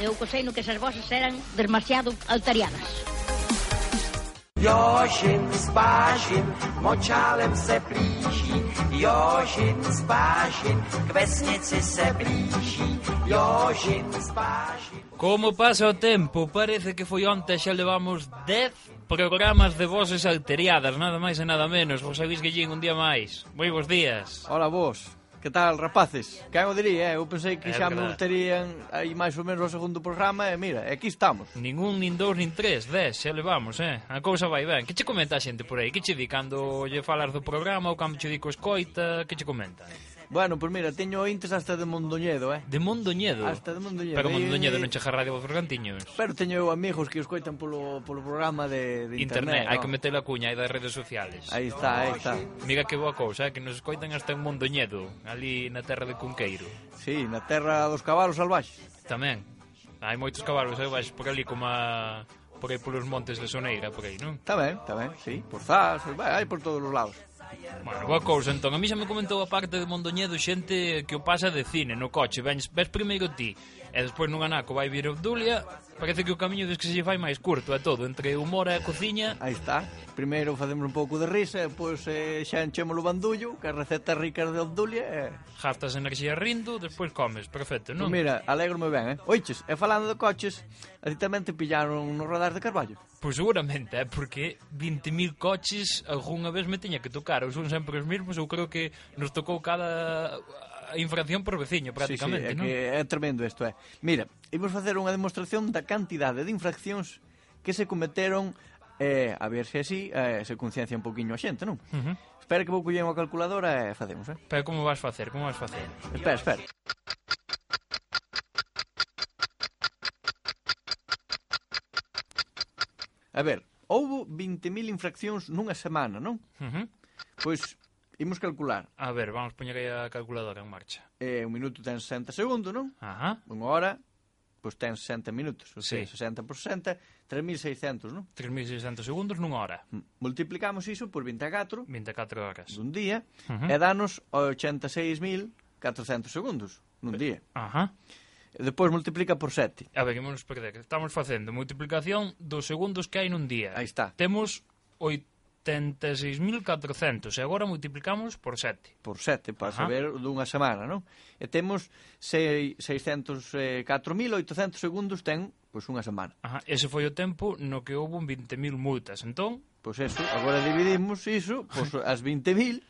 Eu coseino que esas vozes eran demasiado altariadas. Jožin spážin, močálem se plíží, Jožin spážin, k vesnici se blíží, Jožin spážin. Como pasa o tempo, parece que foi onte xa levamos 10 programas de voces alteriadas, nada máis e nada menos. Vos sabéis que lleguin un día máis. Moi bons días. Ola vos, que tal rapaces? Que o diría, eh? eu pensei É que xa me verdade. terían aí máis ou menos o segundo programa e mira, e aquí estamos. Ningún, nin dous, nin tres, 10 xa levamos, eh? A cousa vai ben. Que che comenta a xente por aí? Que che di cando lle falas do programa ou cando che di que o escoita? Que che comentan? Bueno, pois mira, teño ointes hasta de Mondoñedo, eh? De Mondoñedo. Hasta de Mondoñedo. Pero Mondoñedo Eh, non chega a radio vos Bergantiños. Pero teño eu amigos que os coitan polo, polo programa de, de Internet, internet, hai no? que meter a cuña aí das redes sociales. Aí está, aí está. Mira que boa cousa, eh? que nos escoitan hasta en Mondoñedo, ali na terra de Cunqueiro. Sí, na terra dos cabalos salvaxes. Tamén. Hai moitos cabalos, eu vais por ali como a... por aí polos montes de Soneira, por aí, non? Está ben, está ben, sí. Por zas, vai, hai por todos os lados. Bueno, boa cousa, entón. A mí xa me comentou a parte de Mondoñedo xente que o pasa de cine, no coche. Vens, ves primeiro ti, e despois nun anaco vai vir Obdulia. Parece que o camiño des que se lle fai máis curto a todo, entre humor e a cociña. Aí está. Primeiro facemos un pouco de risa, e pois eh, xa enchemos o bandullo, que a receta rica de Obdulia e... Eh, Gastas enerxía rindo, despois comes, perfecto, non? Pois Mira, alegro-me ben, eh? Oiches, e falando de coches, a ti tamén te pillaron no radar de Carballo. Pois seguramente, é porque 20.000 coches algunha vez me teña que tocar, ou son sempre os mesmos, eu creo que nos tocou cada eh, infracción por veciño prácticamente, sí, sí, é non? que é tremendo isto, é. Mira, imos facer unha demostración da cantidade de infraccións que se cometeron eh, a ver se así eh, se conciencia un poquinho a xente, non? Ujú. Espera que vou coller unha calculadora e facemos, eh? Pero como vas facer? Como vas facer? Espera, espera. A ver, houbo 20.000 infraccións nunha semana, non? Ujú. Pois imos calcular. A ver, vamos poñer aí a calculadora en marcha. Eh, un minuto ten 60 segundos, non? Ajá. Unha hora pois ten 60 minutos, ou Sí. sí. 60 por 60, 3600, non? 3.600 segundos nunha hora. M- Multiplicamos iso por 24 24 horas. dun día Ujú. uh -huh. e danos 86.400 segundos nun día. Ajá. E depois multiplica por 7. A ver, que nos perder. Estamos facendo multiplicación dos segundos que hai nun día. Aí está. Temos 86.400 e agora multiplicamos por 7. Por 7, para Ajá. saber o dunha semana, non? E temos sei- eh, 604.800 segundos ten pois unha semana. Ajá, ese foi o tempo no que houve un 20.000 multas. Entón, Pois eso, agora dividimos iso, pois as 20.000,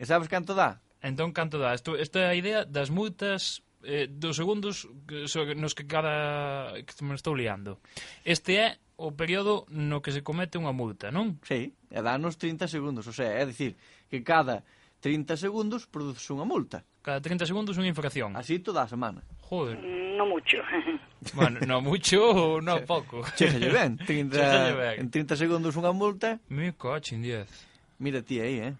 e sabes canto dá? entón canto dá? Isto, esta é a idea das multas eh, dos segundos que, so, nos que cada... que me estou liando. Este é o período no que se comete unha multa, non? Sí, e danos 30 segundos, o sea, é dicir, que cada 30 segundos produce unha multa. Cada 30 segundos unha infracción. Así toda a semana. Joder. No mucho. Bueno, no mucho ou no pouco. Chéxalle ben, Chéxalle ben. 30, en 30 segundos unha multa, Me coche en 10. mira ti aí, eh?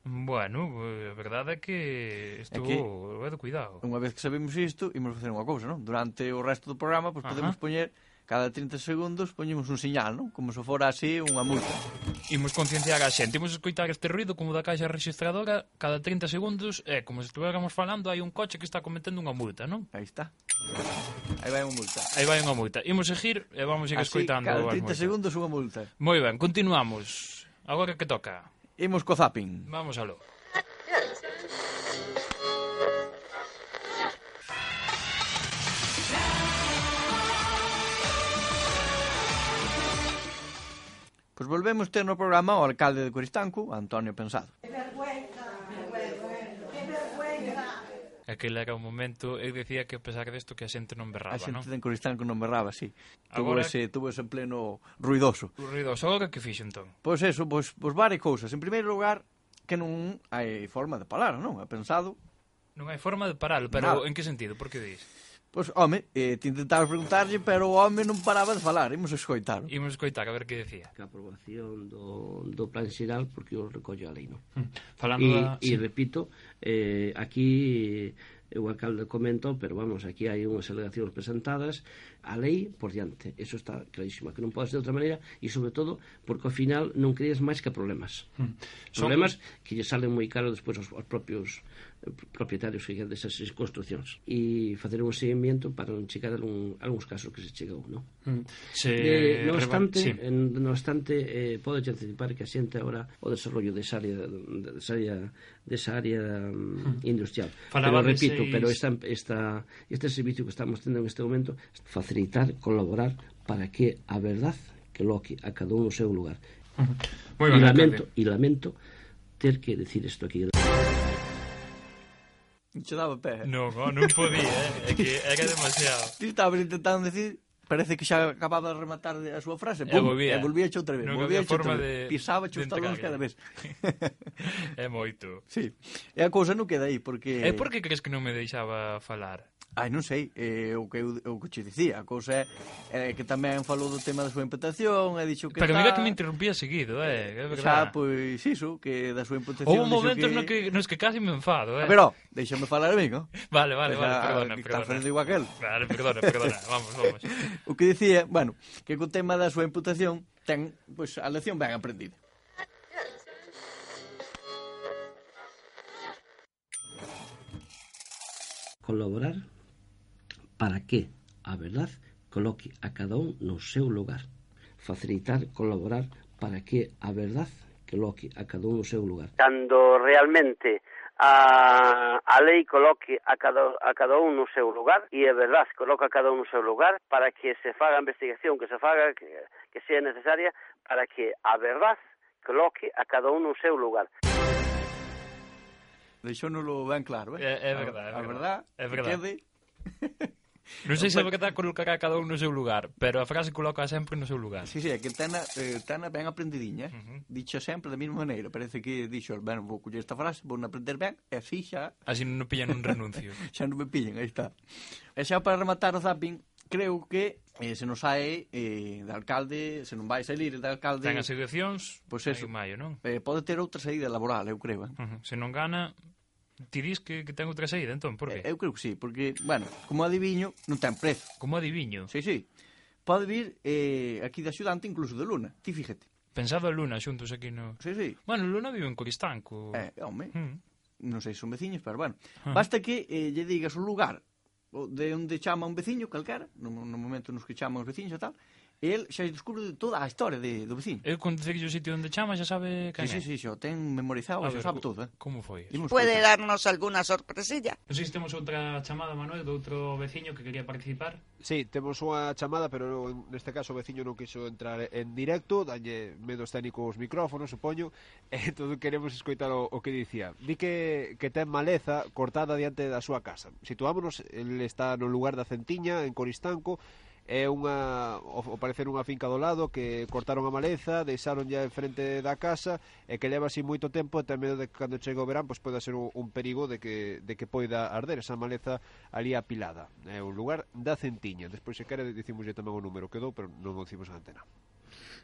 Bueno, eh, a verdade é que que- estuvo... É do cuidado. Unha vez que sabemos isto, imos facer unha cousa, non? Durante o resto do programa, pois Ajá. podemos poñer cada 30 segundos poñemos un señal, non? Como se fora así unha multa. Imos concienciar a xente, imos escoitar este ruido como da caixa registradora cada 30 segundos é como se estuviéramos falando hai un coche que está cometendo unha multa, non? Aí está. Aí vai unha multa. Aí vai unha multa. Imos seguir e vamos seguir Así, escoitando cada as 30 multas. segundos unha multa. Moi ben, continuamos. Agora que toca. Imos co zapping. Vamos aló. Pois volvemos ter no programa o alcalde de Coristanco, Antonio Pensado. Aquel era o momento, eu dicía que a pesar desto que a xente non berraba, A xente non? de Coristanco non berraba, sí. Agora- Tuvo ese, tuvo ese pleno ruidoso. O ruido agora que fixo entón? Pois eso, pois, pois varias cousas. En primeiro lugar, que non hai forma de parar, non? É pensado... Non hai forma de paralo, pero Nada. en que sentido? Por que dis? Pois, home, eh, te intentaba preguntarlle, pero o home non paraba de falar. Imos escoitar. Imos escoitar a ver que decía. que a aprobación do, do plan xeral porque o recolle a lei, non? Falando da... E, e repito, eh, aquí eh, o alcalde comentou, pero vamos, aquí hai unhas alegacións presentadas, a lei por diante, eso está clarísimo, que non pode ser de outra maneira, e sobre todo, porque ao final non crees máis que problemas. Son- Problemas que lle salen moi caro despois aos, aos propios propietarios que quedan desas construccións e facer un seguimento para non chegar a algún, algúns casos que se chegou, non? Se Eh, no reba- obstante, sí. en, no obstante eh, podes anticipar que a xente agora o desarrollo desa área desa área, desa área mm, industrial. Hmm. Falaba de pero repito, seis- pero esta, esta, este servicio que estamos tendo en este momento facilitar, colaborar para que a verdad que loque a cada un o seu lugar. Moi ben, e lamento, alcalde. e lamento ter que decir isto aquí. Non che daba pé. No, no, non podía, eh? é que era demasiado. Ti estabas intentando decir, parece que xa acababa de rematar a súa frase, E pum, volvía. e volvía che outra vez, Non volvía había che forma outra vez. de- Pisaba che de os talóns entrar, cada eh. vez. É moito. Sí. E a cousa non queda aí, porque... E por que crees que non me deixaba falar? Ai, non sei, eh, o que eu, o que che dicía, a cousa é, é que tamén falou do tema da súa imputación, e dixo que Pero está... mira que me interrumpía seguido, eh? É Xa, verdade. pois iso, que da súa imputación... Houve dixo momentos no que, nos que casi me enfado, eh? Pero, deixame falar a mí, non? Vale, vale, Xa, vale, perdona, que perdona. Está frente igual que el. Vale, perdona, perdona, vamos, vamos. O que dicía, bueno, que co tema da súa imputación ten, pois, a lección ben aprendida. colaborar para que a verdad coloque a cada un no seu lugar. Facilitar, colaborar para que a verdad coloque a cada un no seu lugar. cando realmente a, a lei coloque a cada, a cada un no seu lugar e é verdad, coloca a cada un no seu lugar para que se faga a investigación que se faga que, que sea necesaria para que a verdad coloque a cada un no seu lugar Deixónolo ben claro, eh? É- é A- verdade, é A verdade. verdad, É verdade. quede... Non sei se é verdade colocar a cada un no seu lugar, pero a frase coloca sempre no seu lugar. Sí, sí, é que tana, eh, tana ben aprendidinha, eh? Uh -huh. Dicha sempre da mesma maneira. Parece que dixo, ben, vou coller esta frase, vou na aprender ben, e así xa Así non pillan un renuncio. xa non me pillen, aí está. E xa para rematar o zapping, creo que eh, se nos sae eh, de alcalde, se non vai salir de alcalde, Ten as eleccións, Pois aí eso. en maio, non? eh, pode ter outra saída laboral, eu creo. Eh? Ujú. Se non gana, ti dis que, que ten outra saída, entón, por Eh, que? Eu creo que sí, porque, bueno, como adiviño, non ten prezo. Como adiviño? Sí, sí. Pode vir eh, aquí de axudante incluso de Luna, ti fíjate. Pensaba a Luna xuntos aquí no... Sí, sí. Bueno, Luna vive en Coristanco. Eh, home, Mm. non sei se son veciños, pero bueno. Ah. Basta que eh, lle digas un lugar o de onde chama un veciño calquera, no, no momento nos que chama os veciños e tal, e el xa descubre toda a historia de, do veciño. Eu con dicer o sitio onde chama xa sabe Sí, quen é. sí, sí, xa o ten memorizado, A xa ver, sabe co- todo. Eh? Como foi? eso? Imos ¿Puede escoitar. darnos alguna sorpresilla? Non sei se temos outra chamada, Manuel, de outro veciño que quería participar. Sí, temos unha chamada, pero neste caso o veciño non quiso entrar en directo, dalle medos técnicos os micrófonos, supoño, e entón queremos escoitar o, o que dicía. Di que, que ten maleza cortada diante da súa casa. Situámonos, el está no lugar da Centiña, en Coristanco, é unha, o, o parecer unha finca do lado que cortaron a maleza, deixaron ya enfrente da casa e que leva así moito tempo e ten medo de que cando chegue o verán pois poida ser un, un perigo de que, de que poida arder esa maleza ali apilada. É o lugar da centiña. Despois se quere dicimoslle tamén o número que dou, pero non o dicimos na antena.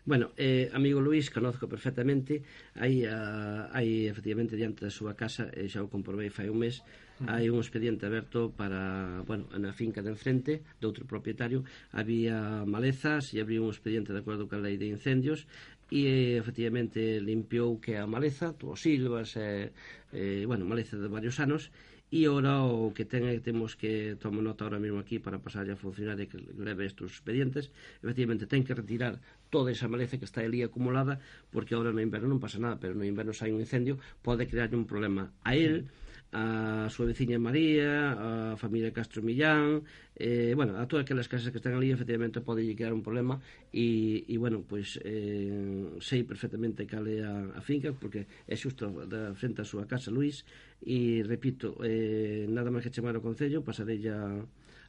Bueno, eh, amigo Luís, conozco perfectamente Hai, a, hai efectivamente diante da súa casa eh, Xa o comprobei fai un mes Hai un expediente aberto para Bueno, na finca de enfrente Doutro propietario Había malezas e abriu un expediente de acordo con a lei de incendios E eh, efectivamente limpiou que a maleza Tuvo silvas eh, eh, Bueno, maleza de varios anos E ora o que ten é que temos que tomo nota ahora mesmo aquí para pasarlle a funcionaria que leve estes expedientes, efectivamente ten que retirar toda esa maleza que está ali acumulada porque ahora no inverno non pasa nada, pero no inverno se hai un incendio pode crear un problema a él, a súa veciña María, a familia Castro Millán, eh, bueno, a todas aquelas casas que están ali efectivamente pode crear un problema e, e bueno, pois eh, sei perfectamente cal é a, a finca porque é xusto da frente á súa casa Luís e repito, eh, nada máis que chamar ao Concello pasarei a,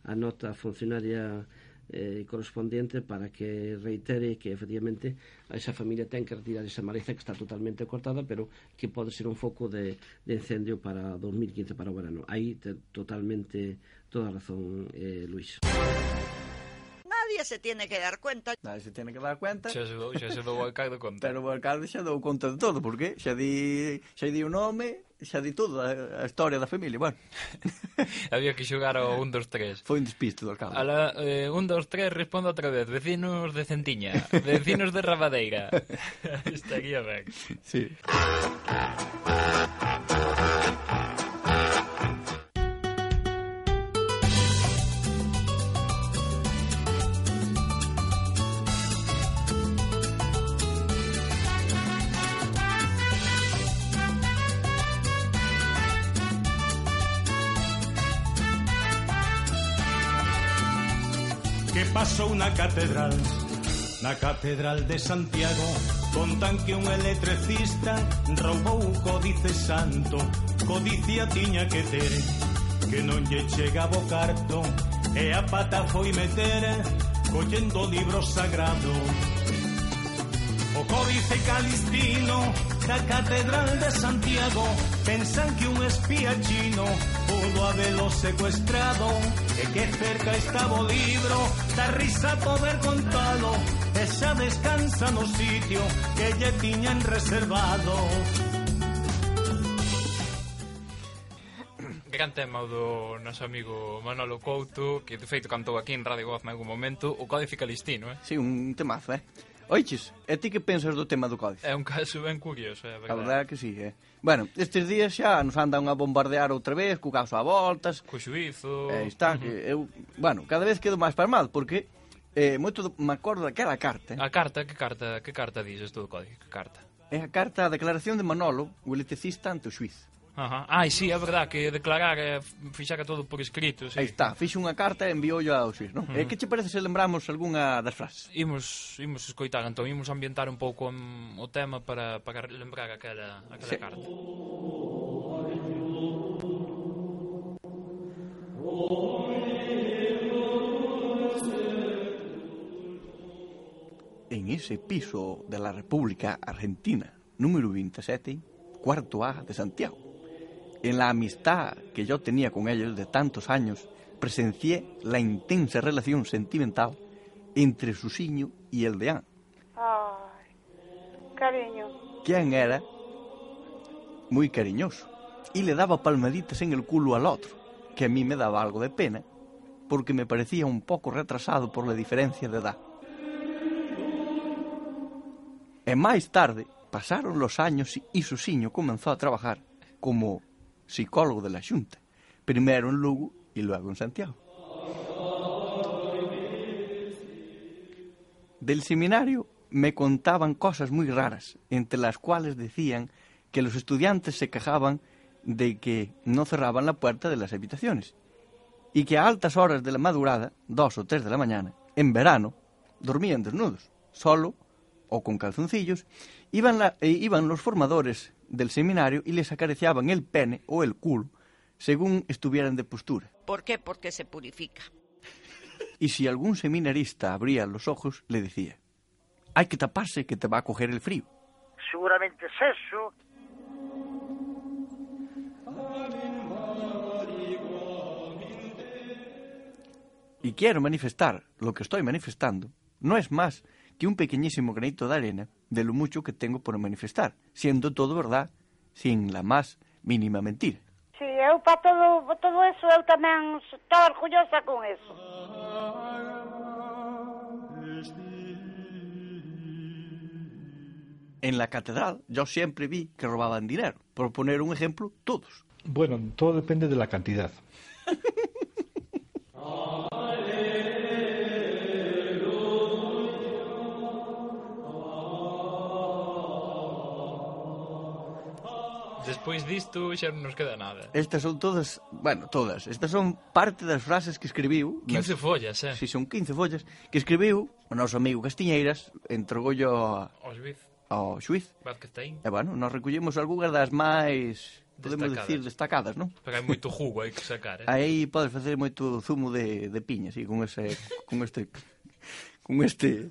a nota funcionaria eh, correspondiente para que reitere que efectivamente a esa familia ten que retirar esa maleza que está totalmente cortada pero que pode ser un foco de, de incendio para 2015 para o verano aí te, totalmente toda a razón eh, Luís Nadie se tiene que dar cuenta. Nadie se tiene que dar cuenta. Xa se dou, xa se dou a cada conta. Pero o alcalde xa dou conta de todo, porque xa di, xa di o nome, xa di todo, a, a historia da familia. Bueno, Había que xogar ao 1, 2, 3. foi un despiste do alcalde. A la, eh, un, dos, tres, respondo outra vez. Vecinos de Centiña, vecinos de Rabadeira. Estaría ben. Sí. que pasou na catedral Na catedral de Santiago Contan que un electricista roubou o códice santo Codicia tiña que ter Que non lle chegaba o carto E a pata foi meter Collendo o libro sagrado O códice calistino da Catedral de Santiago Pensan que un espía chino pudo habelo secuestrado E que cerca estaba o libro, da risa poder contalo E xa descansa no sitio que lle tiñan reservado Gran tema o do noso amigo Manolo Couto Que de feito cantou aquí en Radio Goz en algún momento O Códice Calistino, eh? Sí, un temazo, eh? Oiches, e ti que pensas do tema do códice? É un caso ben curioso, é A verdade verdade é que sí, eh? Bueno, estes días xa nos andan a bombardear outra vez, co caso a voltas, Co xuizo Eh, está, que eu, bueno, cada vez quedo máis pasmado porque eh, moito do- me acordo daquela carta. A carta, que carta, que carta dis isto do Códice? Que carta? É a carta a declaración de Manolo, o electricista ante o xuiz. Ajá. Ai, sí, é verdade que declarar é fixar todo por escrito, Sí. Aí sí. está, fixo unha carta e enviou ao xuiz, non? Uh -huh. E que che parece se lembramos algunha das frases? Imos, imos escoitar, entón, imos ambientar un pouco mm, o tema para, para lembrar aquela, aquela Sí. carta. En ese piso de la República Argentina, número 27, cuarto A de Santiago. En la amistad que yo tenía con ellos de tantos años, presencié la intensa relación sentimental entre Susiño y el deán. Ay, cariño. quien era muy cariñoso y le daba palmaditas en el culo al otro, que a mí me daba algo de pena, porque me parecía un poco retrasado por la diferencia de edad. E máis tarde, pasaron los años e Susiño comenzó a trabajar como psicólogo de la Xunta, primero en Lugo y luego en Santiago. Del seminario me contaban cosas muy raras, entre las cuales decían que los estudiantes se quejaban de que no cerraban la puerta de las habitaciones y que a altas horas de la madrugada, dos o tres de la mañana, en verano, dormían desnudos, solo o con calzoncillos, iban, la- e iban los formadores del seminario y les acariciaban el pene o el culo según estuvieran de postura. ¿Por qué? Porque se purifica. Y si algún seminarista abría los ojos, le decía, hay que taparse que te va a coger el frío. Seguramente es eso. Y quiero manifestar lo que estoy manifestando, no es más que un pequeñísimo granito de arena de lo mucho que tengo por manifestar, siendo todo verdad, sin la más mínima mentira. Sí, eu para todo, pa todo eso eu tamén estou orgullosa con eso. En la catedral yo siempre vi que robaban dinero, por poner un ejemplo, todos. Bueno, todo depende de la cantidad. Despois disto xa non nos queda nada. Estas son todas, bueno, todas, estas son parte das frases que escribiu. 15 follas, eh? Si son 15 follas que escribiu o noso amigo Castiñeiras, entregollo a- Os biz, ao xuiz. Vázquez Taín. E bueno, nos recollemos algunhas das máis, Destacadas. podemos dicir, destacadas, non? Pero hai moito jugo aí que sacar, eh? Aí podes facer moito zumo de, de piña, sí, con ese con este con este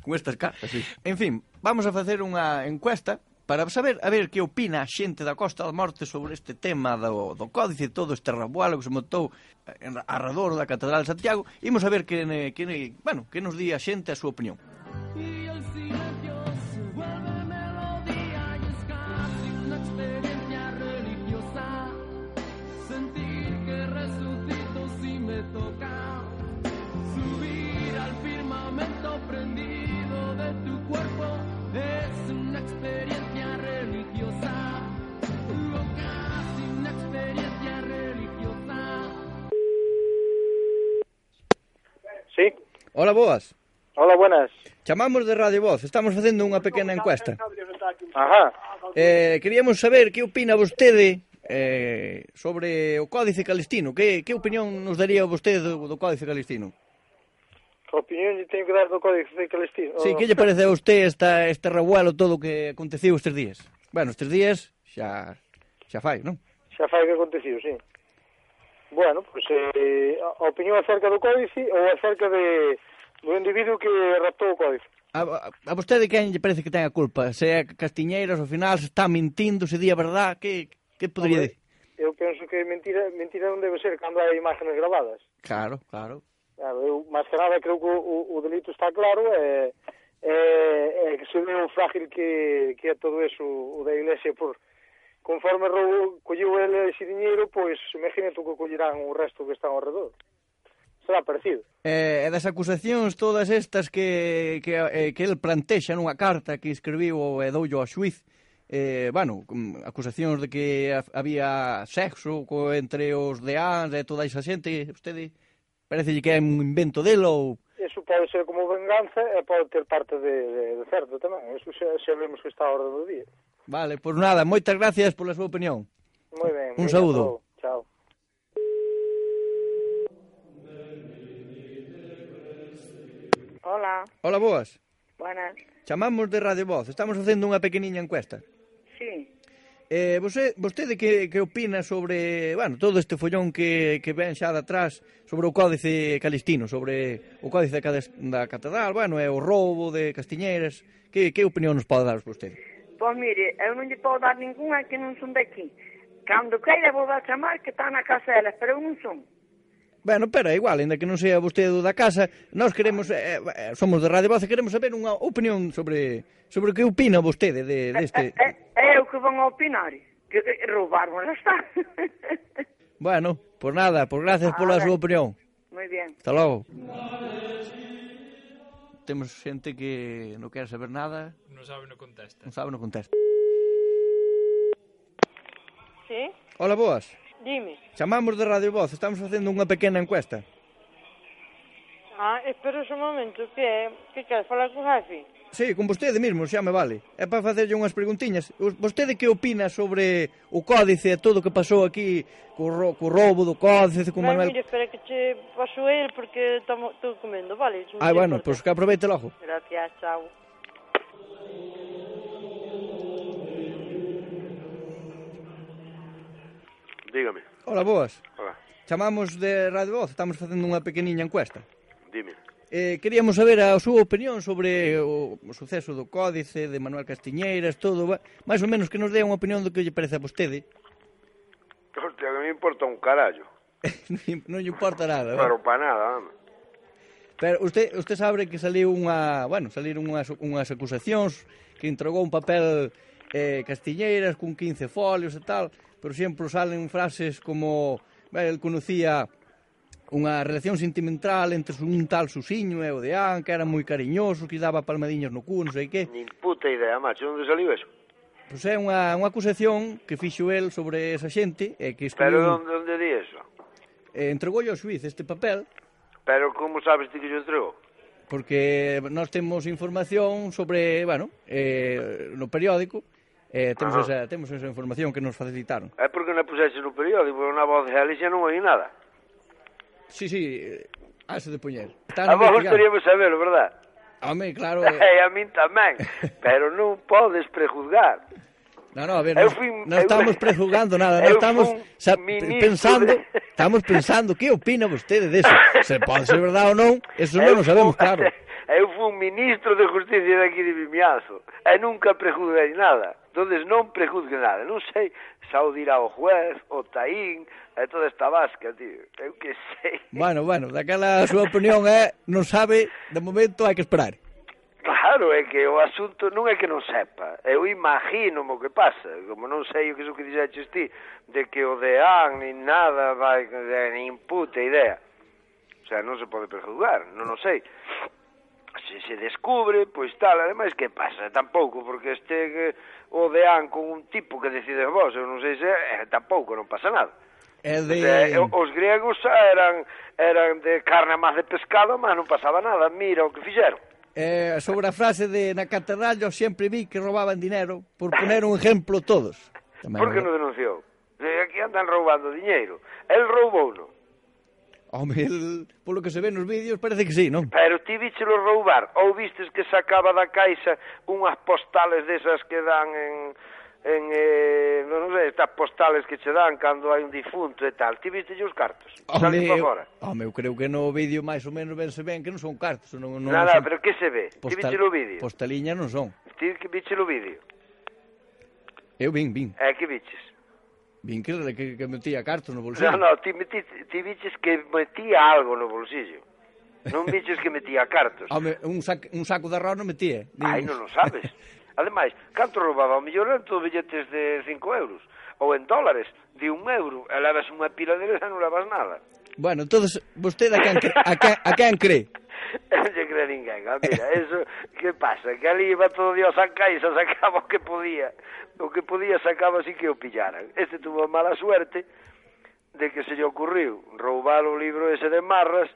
con estas cartas, sí. En fin, vamos a facer unha encuesta para saber a ver que opina a xente da Costa da Morte sobre este tema do, do códice e todo este rabualo que se montou en, arredor da Catedral de Santiago. Imos a ver que, ne- que, ne- bueno, que nos di a xente a súa opinión. Y el silencio se vuelve melodía y es casi una experiencia religiosa. Sentir que resucito si me toca. Subir al firmamento prendido de tu cuerpo es una experiencia religiosa. Oh, casi una experiencia religiosa. Sí. Hola, boas. Hola, buenas. Chamamos de Radio Voz, estamos facendo unha pequena encuesta. Ajá. Eh, queríamos saber que opina vostede eh, sobre o Códice Calistino. Que, que opinión nos daría vostede do, do Códice Calistino? A opinión lle teño que dar do Código Celestino. Sí, que lle parece a usted esta, este revuelo todo o que aconteceu estes días? Bueno, estes días xa, xa fai, non? Xa fai que acontecido, sí. Bueno, pois eh, a a opinión acerca do códice ou acerca de do individuo que raptou o códice. A, a, a vostede quen lle parece que ten a culpa? Se é Castiñeiras, ao final, se está mentindo, se di a verdad, que, que podría Hombre. dicir? Eu penso que mentira, mentira non debe ser cando hai imágenes grabadas. Claro, claro. Claro, eu, máis que nada, creo que o, o- o delito está claro e, e, e que se ve o frágil que, que é todo eso o da Iglesia por conforme roubou, colleu ele ese diñeiro, pois imagínate o que collerán o resto que están ao redor. Será parecido. Eh, e das acusacións todas estas que, que, eh, que el plantexa nunha carta que escribiu e doullo ao xuiz, eh, bueno, com- acusacións de que ha- había sexo co, entre os deáns e toda esa xente, vostede parece que é un invento dele ou... Eso pode ser como venganza e pode ter parte de, de, de certo tamén. Eso xa, xa vemos que está a orde do día. Vale, pois nada, moitas gracias pola súa opinión. Moi ben. Un veña, saúdo. todo. Chao. Hola, Ola, boas. buenas. Chamamos de Radio Voz, estamos facendo unha pequeniña encuesta. Sí, Eh, você, vostede que, que opina sobre, bueno, todo este follón que, que ven xa de atrás sobre o Códice Calistino, sobre o Códice da Cades- da Catedral, bueno, e o roubo de Castiñeiras, que, que opinión nos pode dar vostede? pois mire, eu non lle podo dar ninguna que non son daqui. Cando queira vou a chamar que está na casa delas, pero eu non son. Bueno, pero é igual, ainda que non sea vostede o da casa, nós queremos, eh, eh, somos de Radio Voz e queremos saber unha opinión sobre sobre o que opina vostede de, deste... eh, É o que van a opinar, que que roubaron, lá está. Bueno, por nada, por gracias pola Ah, súa ben. opinión. Moi ben. Hasta logo. Temos xente que non quer saber nada, Non sabe, non contesta. non sabe, non contesta. Sí, Ola, boas. dime. Chamamos de Radio Voz, estamos facendo unha pequena encuesta. Ah, espera un momento, que é? Que queres falar con jefe? Sí, con vostede mesmo, xa me vale. É para facerlle unhas preguntiñas. Os- Vostede que opina sobre o códice e todo o que pasou aquí co, ro co roubo do códice, con Manuel... Manuel... Mira, espera que che paso a ele porque tomo- estou comendo, vale? Se non Ah, te bueno, importa. pois que aproveite logo. Gracias, chao. Dígame, Ola, boas. Ola. Chamamos de Radio Voz, estamos facendo unha pequeniña encuesta. dime. Eh, queríamos saber a súa opinión sobre o, o suceso do Códice, de Manuel Castiñeiras, todo, va- máis ou menos que nos dé unha opinión do que lle parece a vostede. Hostia, que me importa un carallo. non lle importa nada. va. Pero para nada, vamos. Pero usted, usted sabe que saliu unha, bueno, saliron unhas, unhas acusacións que entregou un papel eh, castiñeiras con 15 folios e tal, pero sempre salen frases como ben, el conocía unha relación sentimental entre un tal Susiño e o de An, que era moi cariñoso, que daba palmadiñas no cu, non sei que. Nin puta idea, macho, onde saliu eso? Pois é unha, unha acusación que fixo el sobre esa xente e que Pero escribiu, onde, onde di eso? eh, entregoulle ao xuiz este papel Pero como sabes ti que yo entrego? porque nós temos información sobre, bueno, eh, no periódico, eh, temos, Ajá. esa, temos esa información que nos facilitaron. É porque non a puxexe no periódico, na voz real e xa non oí nada. Sí, sí, eh, hase de poñer. Están A vos investigando. gostaríamos sabelo, verdad? Home, claro. e a min tamén, pero non podes prejuzgar. No, no, a ver, non Eu fui- non eu- estamos prejugando nada, non eu estamos fui sa- ministro pensando, de- estamos pensando que opina vostede deso. Se pode ser verdade ou non, eso non Eu o sabemos claro. Eu fui un ministro de justicia daqui de Vimiazo e nunca prejuzguei nada. Entonces non prejuzgue nada. Non sei xa o dirá o juez, o taín, e toda esta vasca, tío. Eu que sei. Bueno, bueno, daquela a súa opinión é, non sabe, de momento hai que esperar. Claro, é que o asunto non é que non sepa. Eu imagino o que pasa. Como non sei o que iso que dixeches ti, de que o de an, nin nada, vai, de, nin puta idea. O sea, non se pode prejuzgar, non o sei. Se se descubre, pois tal, ademais, que pasa? Tampouco, porque este eh, o de an con un tipo que decides vos, eu non sei se, eh, tampouco, non pasa nada. É O sea, de... eu- Eh, os gregos eran eran de carne máis de pescado, mas non pasaba nada. Mira o que fixeron. Eh, sobre a frase de na catedral yo sempre vi que robaban dinero, por poner un ejemplo todos. Tamén, Eh, Por que non denunciou? De aquí andan roubando diñeiro. El roubou no. Home, el, polo que se ve nos vídeos parece que sí, non? Pero ti víchelo roubar ou vistes que sacaba da caixa unhas postales desas que dan en en eh, non sei, estas postales que che dan cando hai un difunto e tal. Ti viste os cartos? Salí para fora. home, eu creo que no vídeo máis ou menos ben se ven que non son cartos, non, non Nada, son pero que se ve? Ti postal- víchelo o vídeo? Postaliñas non son. Ti que víchelo o vídeo? Eu vin, vin. É que viches? Vin que, que, que metía cartos no bolsillo. Non, non, ti, meti, ti viches que metía algo no bolsillo. Non viches que metía cartos. Home, un, sac, un saco de arroz non metía. nin- Ai, non o sabes. Ademais, canto roubaba? Ao mellor eran todos billetes de 5 euros. Ou en dólares, de un euro. E levas unha pila deles e non levas nada. Bueno, entonces, vostede a quen, cre- a quen, a quen cree? E non lle cree ninguén. Ah, Mira, eso, que pasa? Que ali iba todo día a sacar e se sacaba o que podía. O que podía sacaba así que o pillaran. Este tuvo a mala suerte de que se lle ocurriu roubar o libro ese de Marras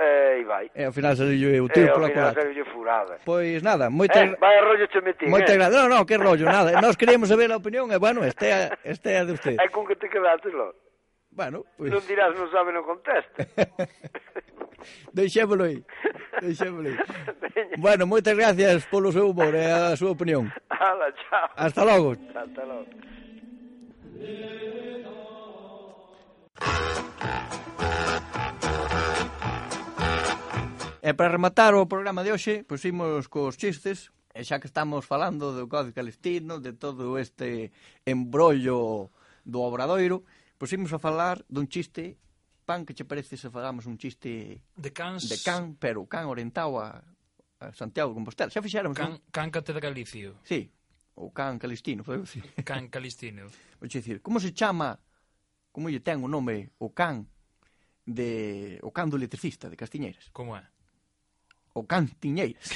e eh, vai. E ao final saliu eu tiro Eh, ao pola final culata. saliulle furada. Pois nada, moitas Eh, vaya rollo che metín, Moitas eh. gracias. Non, non, que rollo, nada. Nós queremos saber a opinión e bueno, este é a- este é a de usted. É con que te quedaste, lo. Bueno, pois. Non dirás, non sabe, non contesta. Deixémolo aí. Deixémolo aí. Bueno, moitas gracias polo seu humor e a súa opinión. Hala, chao. Hasta logo. Hasta logo. E para rematar o programa de hoxe, pois imos cos chistes, e xa que estamos falando do Código Calistino, de todo este embrollo do obradoiro, pois imos a falar dun chiste, pan que che parece se falamos un chiste De cans- de can pero can orientado a, a Santiago de Compostela. Xa fixéramos Can, un- can Catedralicio. Sí, o can calistino, podemos dicir. Can Calistino. Vou che dicir, como se chama, como lle ten o nome o can de o can do electricista de Castiñeiras? Como é? O can Tiñeiras.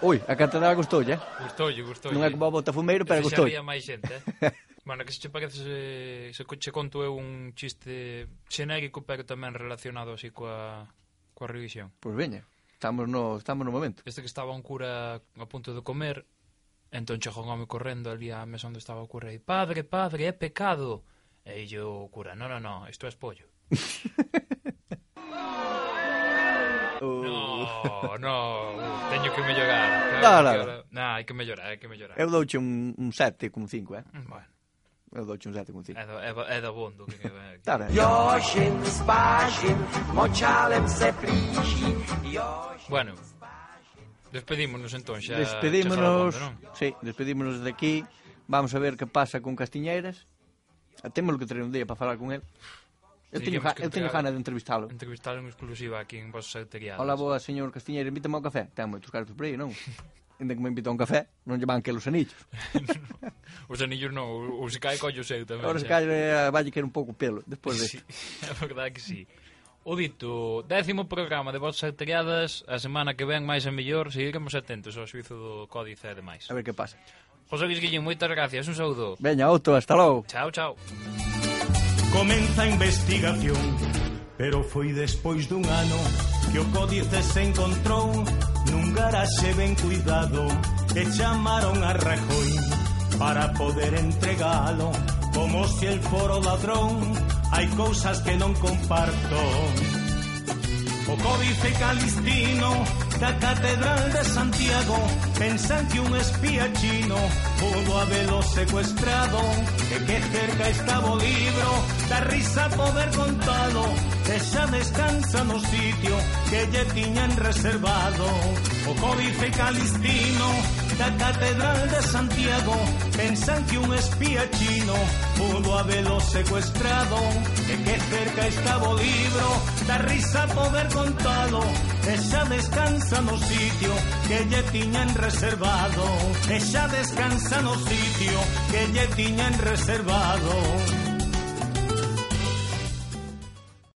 Ui, a catedral gustou, eh? Gustoulle, gustoulle. Non é como a Botafumeiro, pero Ese xa gustou. ría máis xente, eh? bueno, que se che parece se, se co- che conto eu un chiste xenérico, pero tamén relacionado así coa, coa religión. Pois veña, estamos no, estamos no momento. Este que estaba un cura a punto de comer, entón chegou un home correndo ali á mesa onde estaba o cura e padre, padre, é pecado. E yo, o cura, no, no, no, isto é espollo. No, no, teño que mellorar. No, Claro, no, que no. ahora- nah, hai que mellorar, hai que mellorar. Eu douche un, un 7,5, eh? Bueno. Eh. Eu douche un 7,5. É, do, é, do- é da bondo que que- que- Está ben. Jožin, spážin, močálem se plíží. Jožin, Bueno, despedímonos entón xa. despedímonos, xa salvando, non? sí, despedímonos de aquí. Vamos a ver que pasa con Castiñeiras. Temos que traer un día para falar con el. Eu Teríamos teño, ja, que eu teño entregar- gana de entrevistalo. Entrevistalo en exclusiva aquí en vosas alteriadas. Hola, boa, señor Castiñeiro, invítame ao café. Ten moitos cartos por aí, non? Ainda que me invita a un café, non lle van que los anillos. Pois Os anillos non, ou, ou se cae collo seu tamén. Agora se xa. eh, calha vai querer un pouco pelo, despois Sí, disto. a verdade que sí. O dito, décimo programa de vosas alteriadas, a semana que ven máis e mellor, seguiremos atentos ao suizo do códice e demais. A ver que pasa. José Luis Guillén, moitas gracias, un saúdo. Veña, outro, hasta logo. Chao, chao. Comeza a investigación Pero foi despois dun ano Que o códice se encontrou Nun garaxe ben cuidado E chamaron a Rajoy Para poder entregalo Como se el foro ladrón Hai cousas que non comparto O códice calistino da Catedral de Santiago Pensan que un espía chino pudo habelo secuestrado De que cerca estaba o libro, da risa poder contado Ella descansa no sitio que lle tiñan reservado O códice calistino da Catedral de Santiago Pensan que un espía chino pudo habelo secuestrado De que cerca estaba o libro, da risa poder contalo Ella descansa no sitio que lle tiñan reservado Ella descansa no sitio que lle tiñan reservado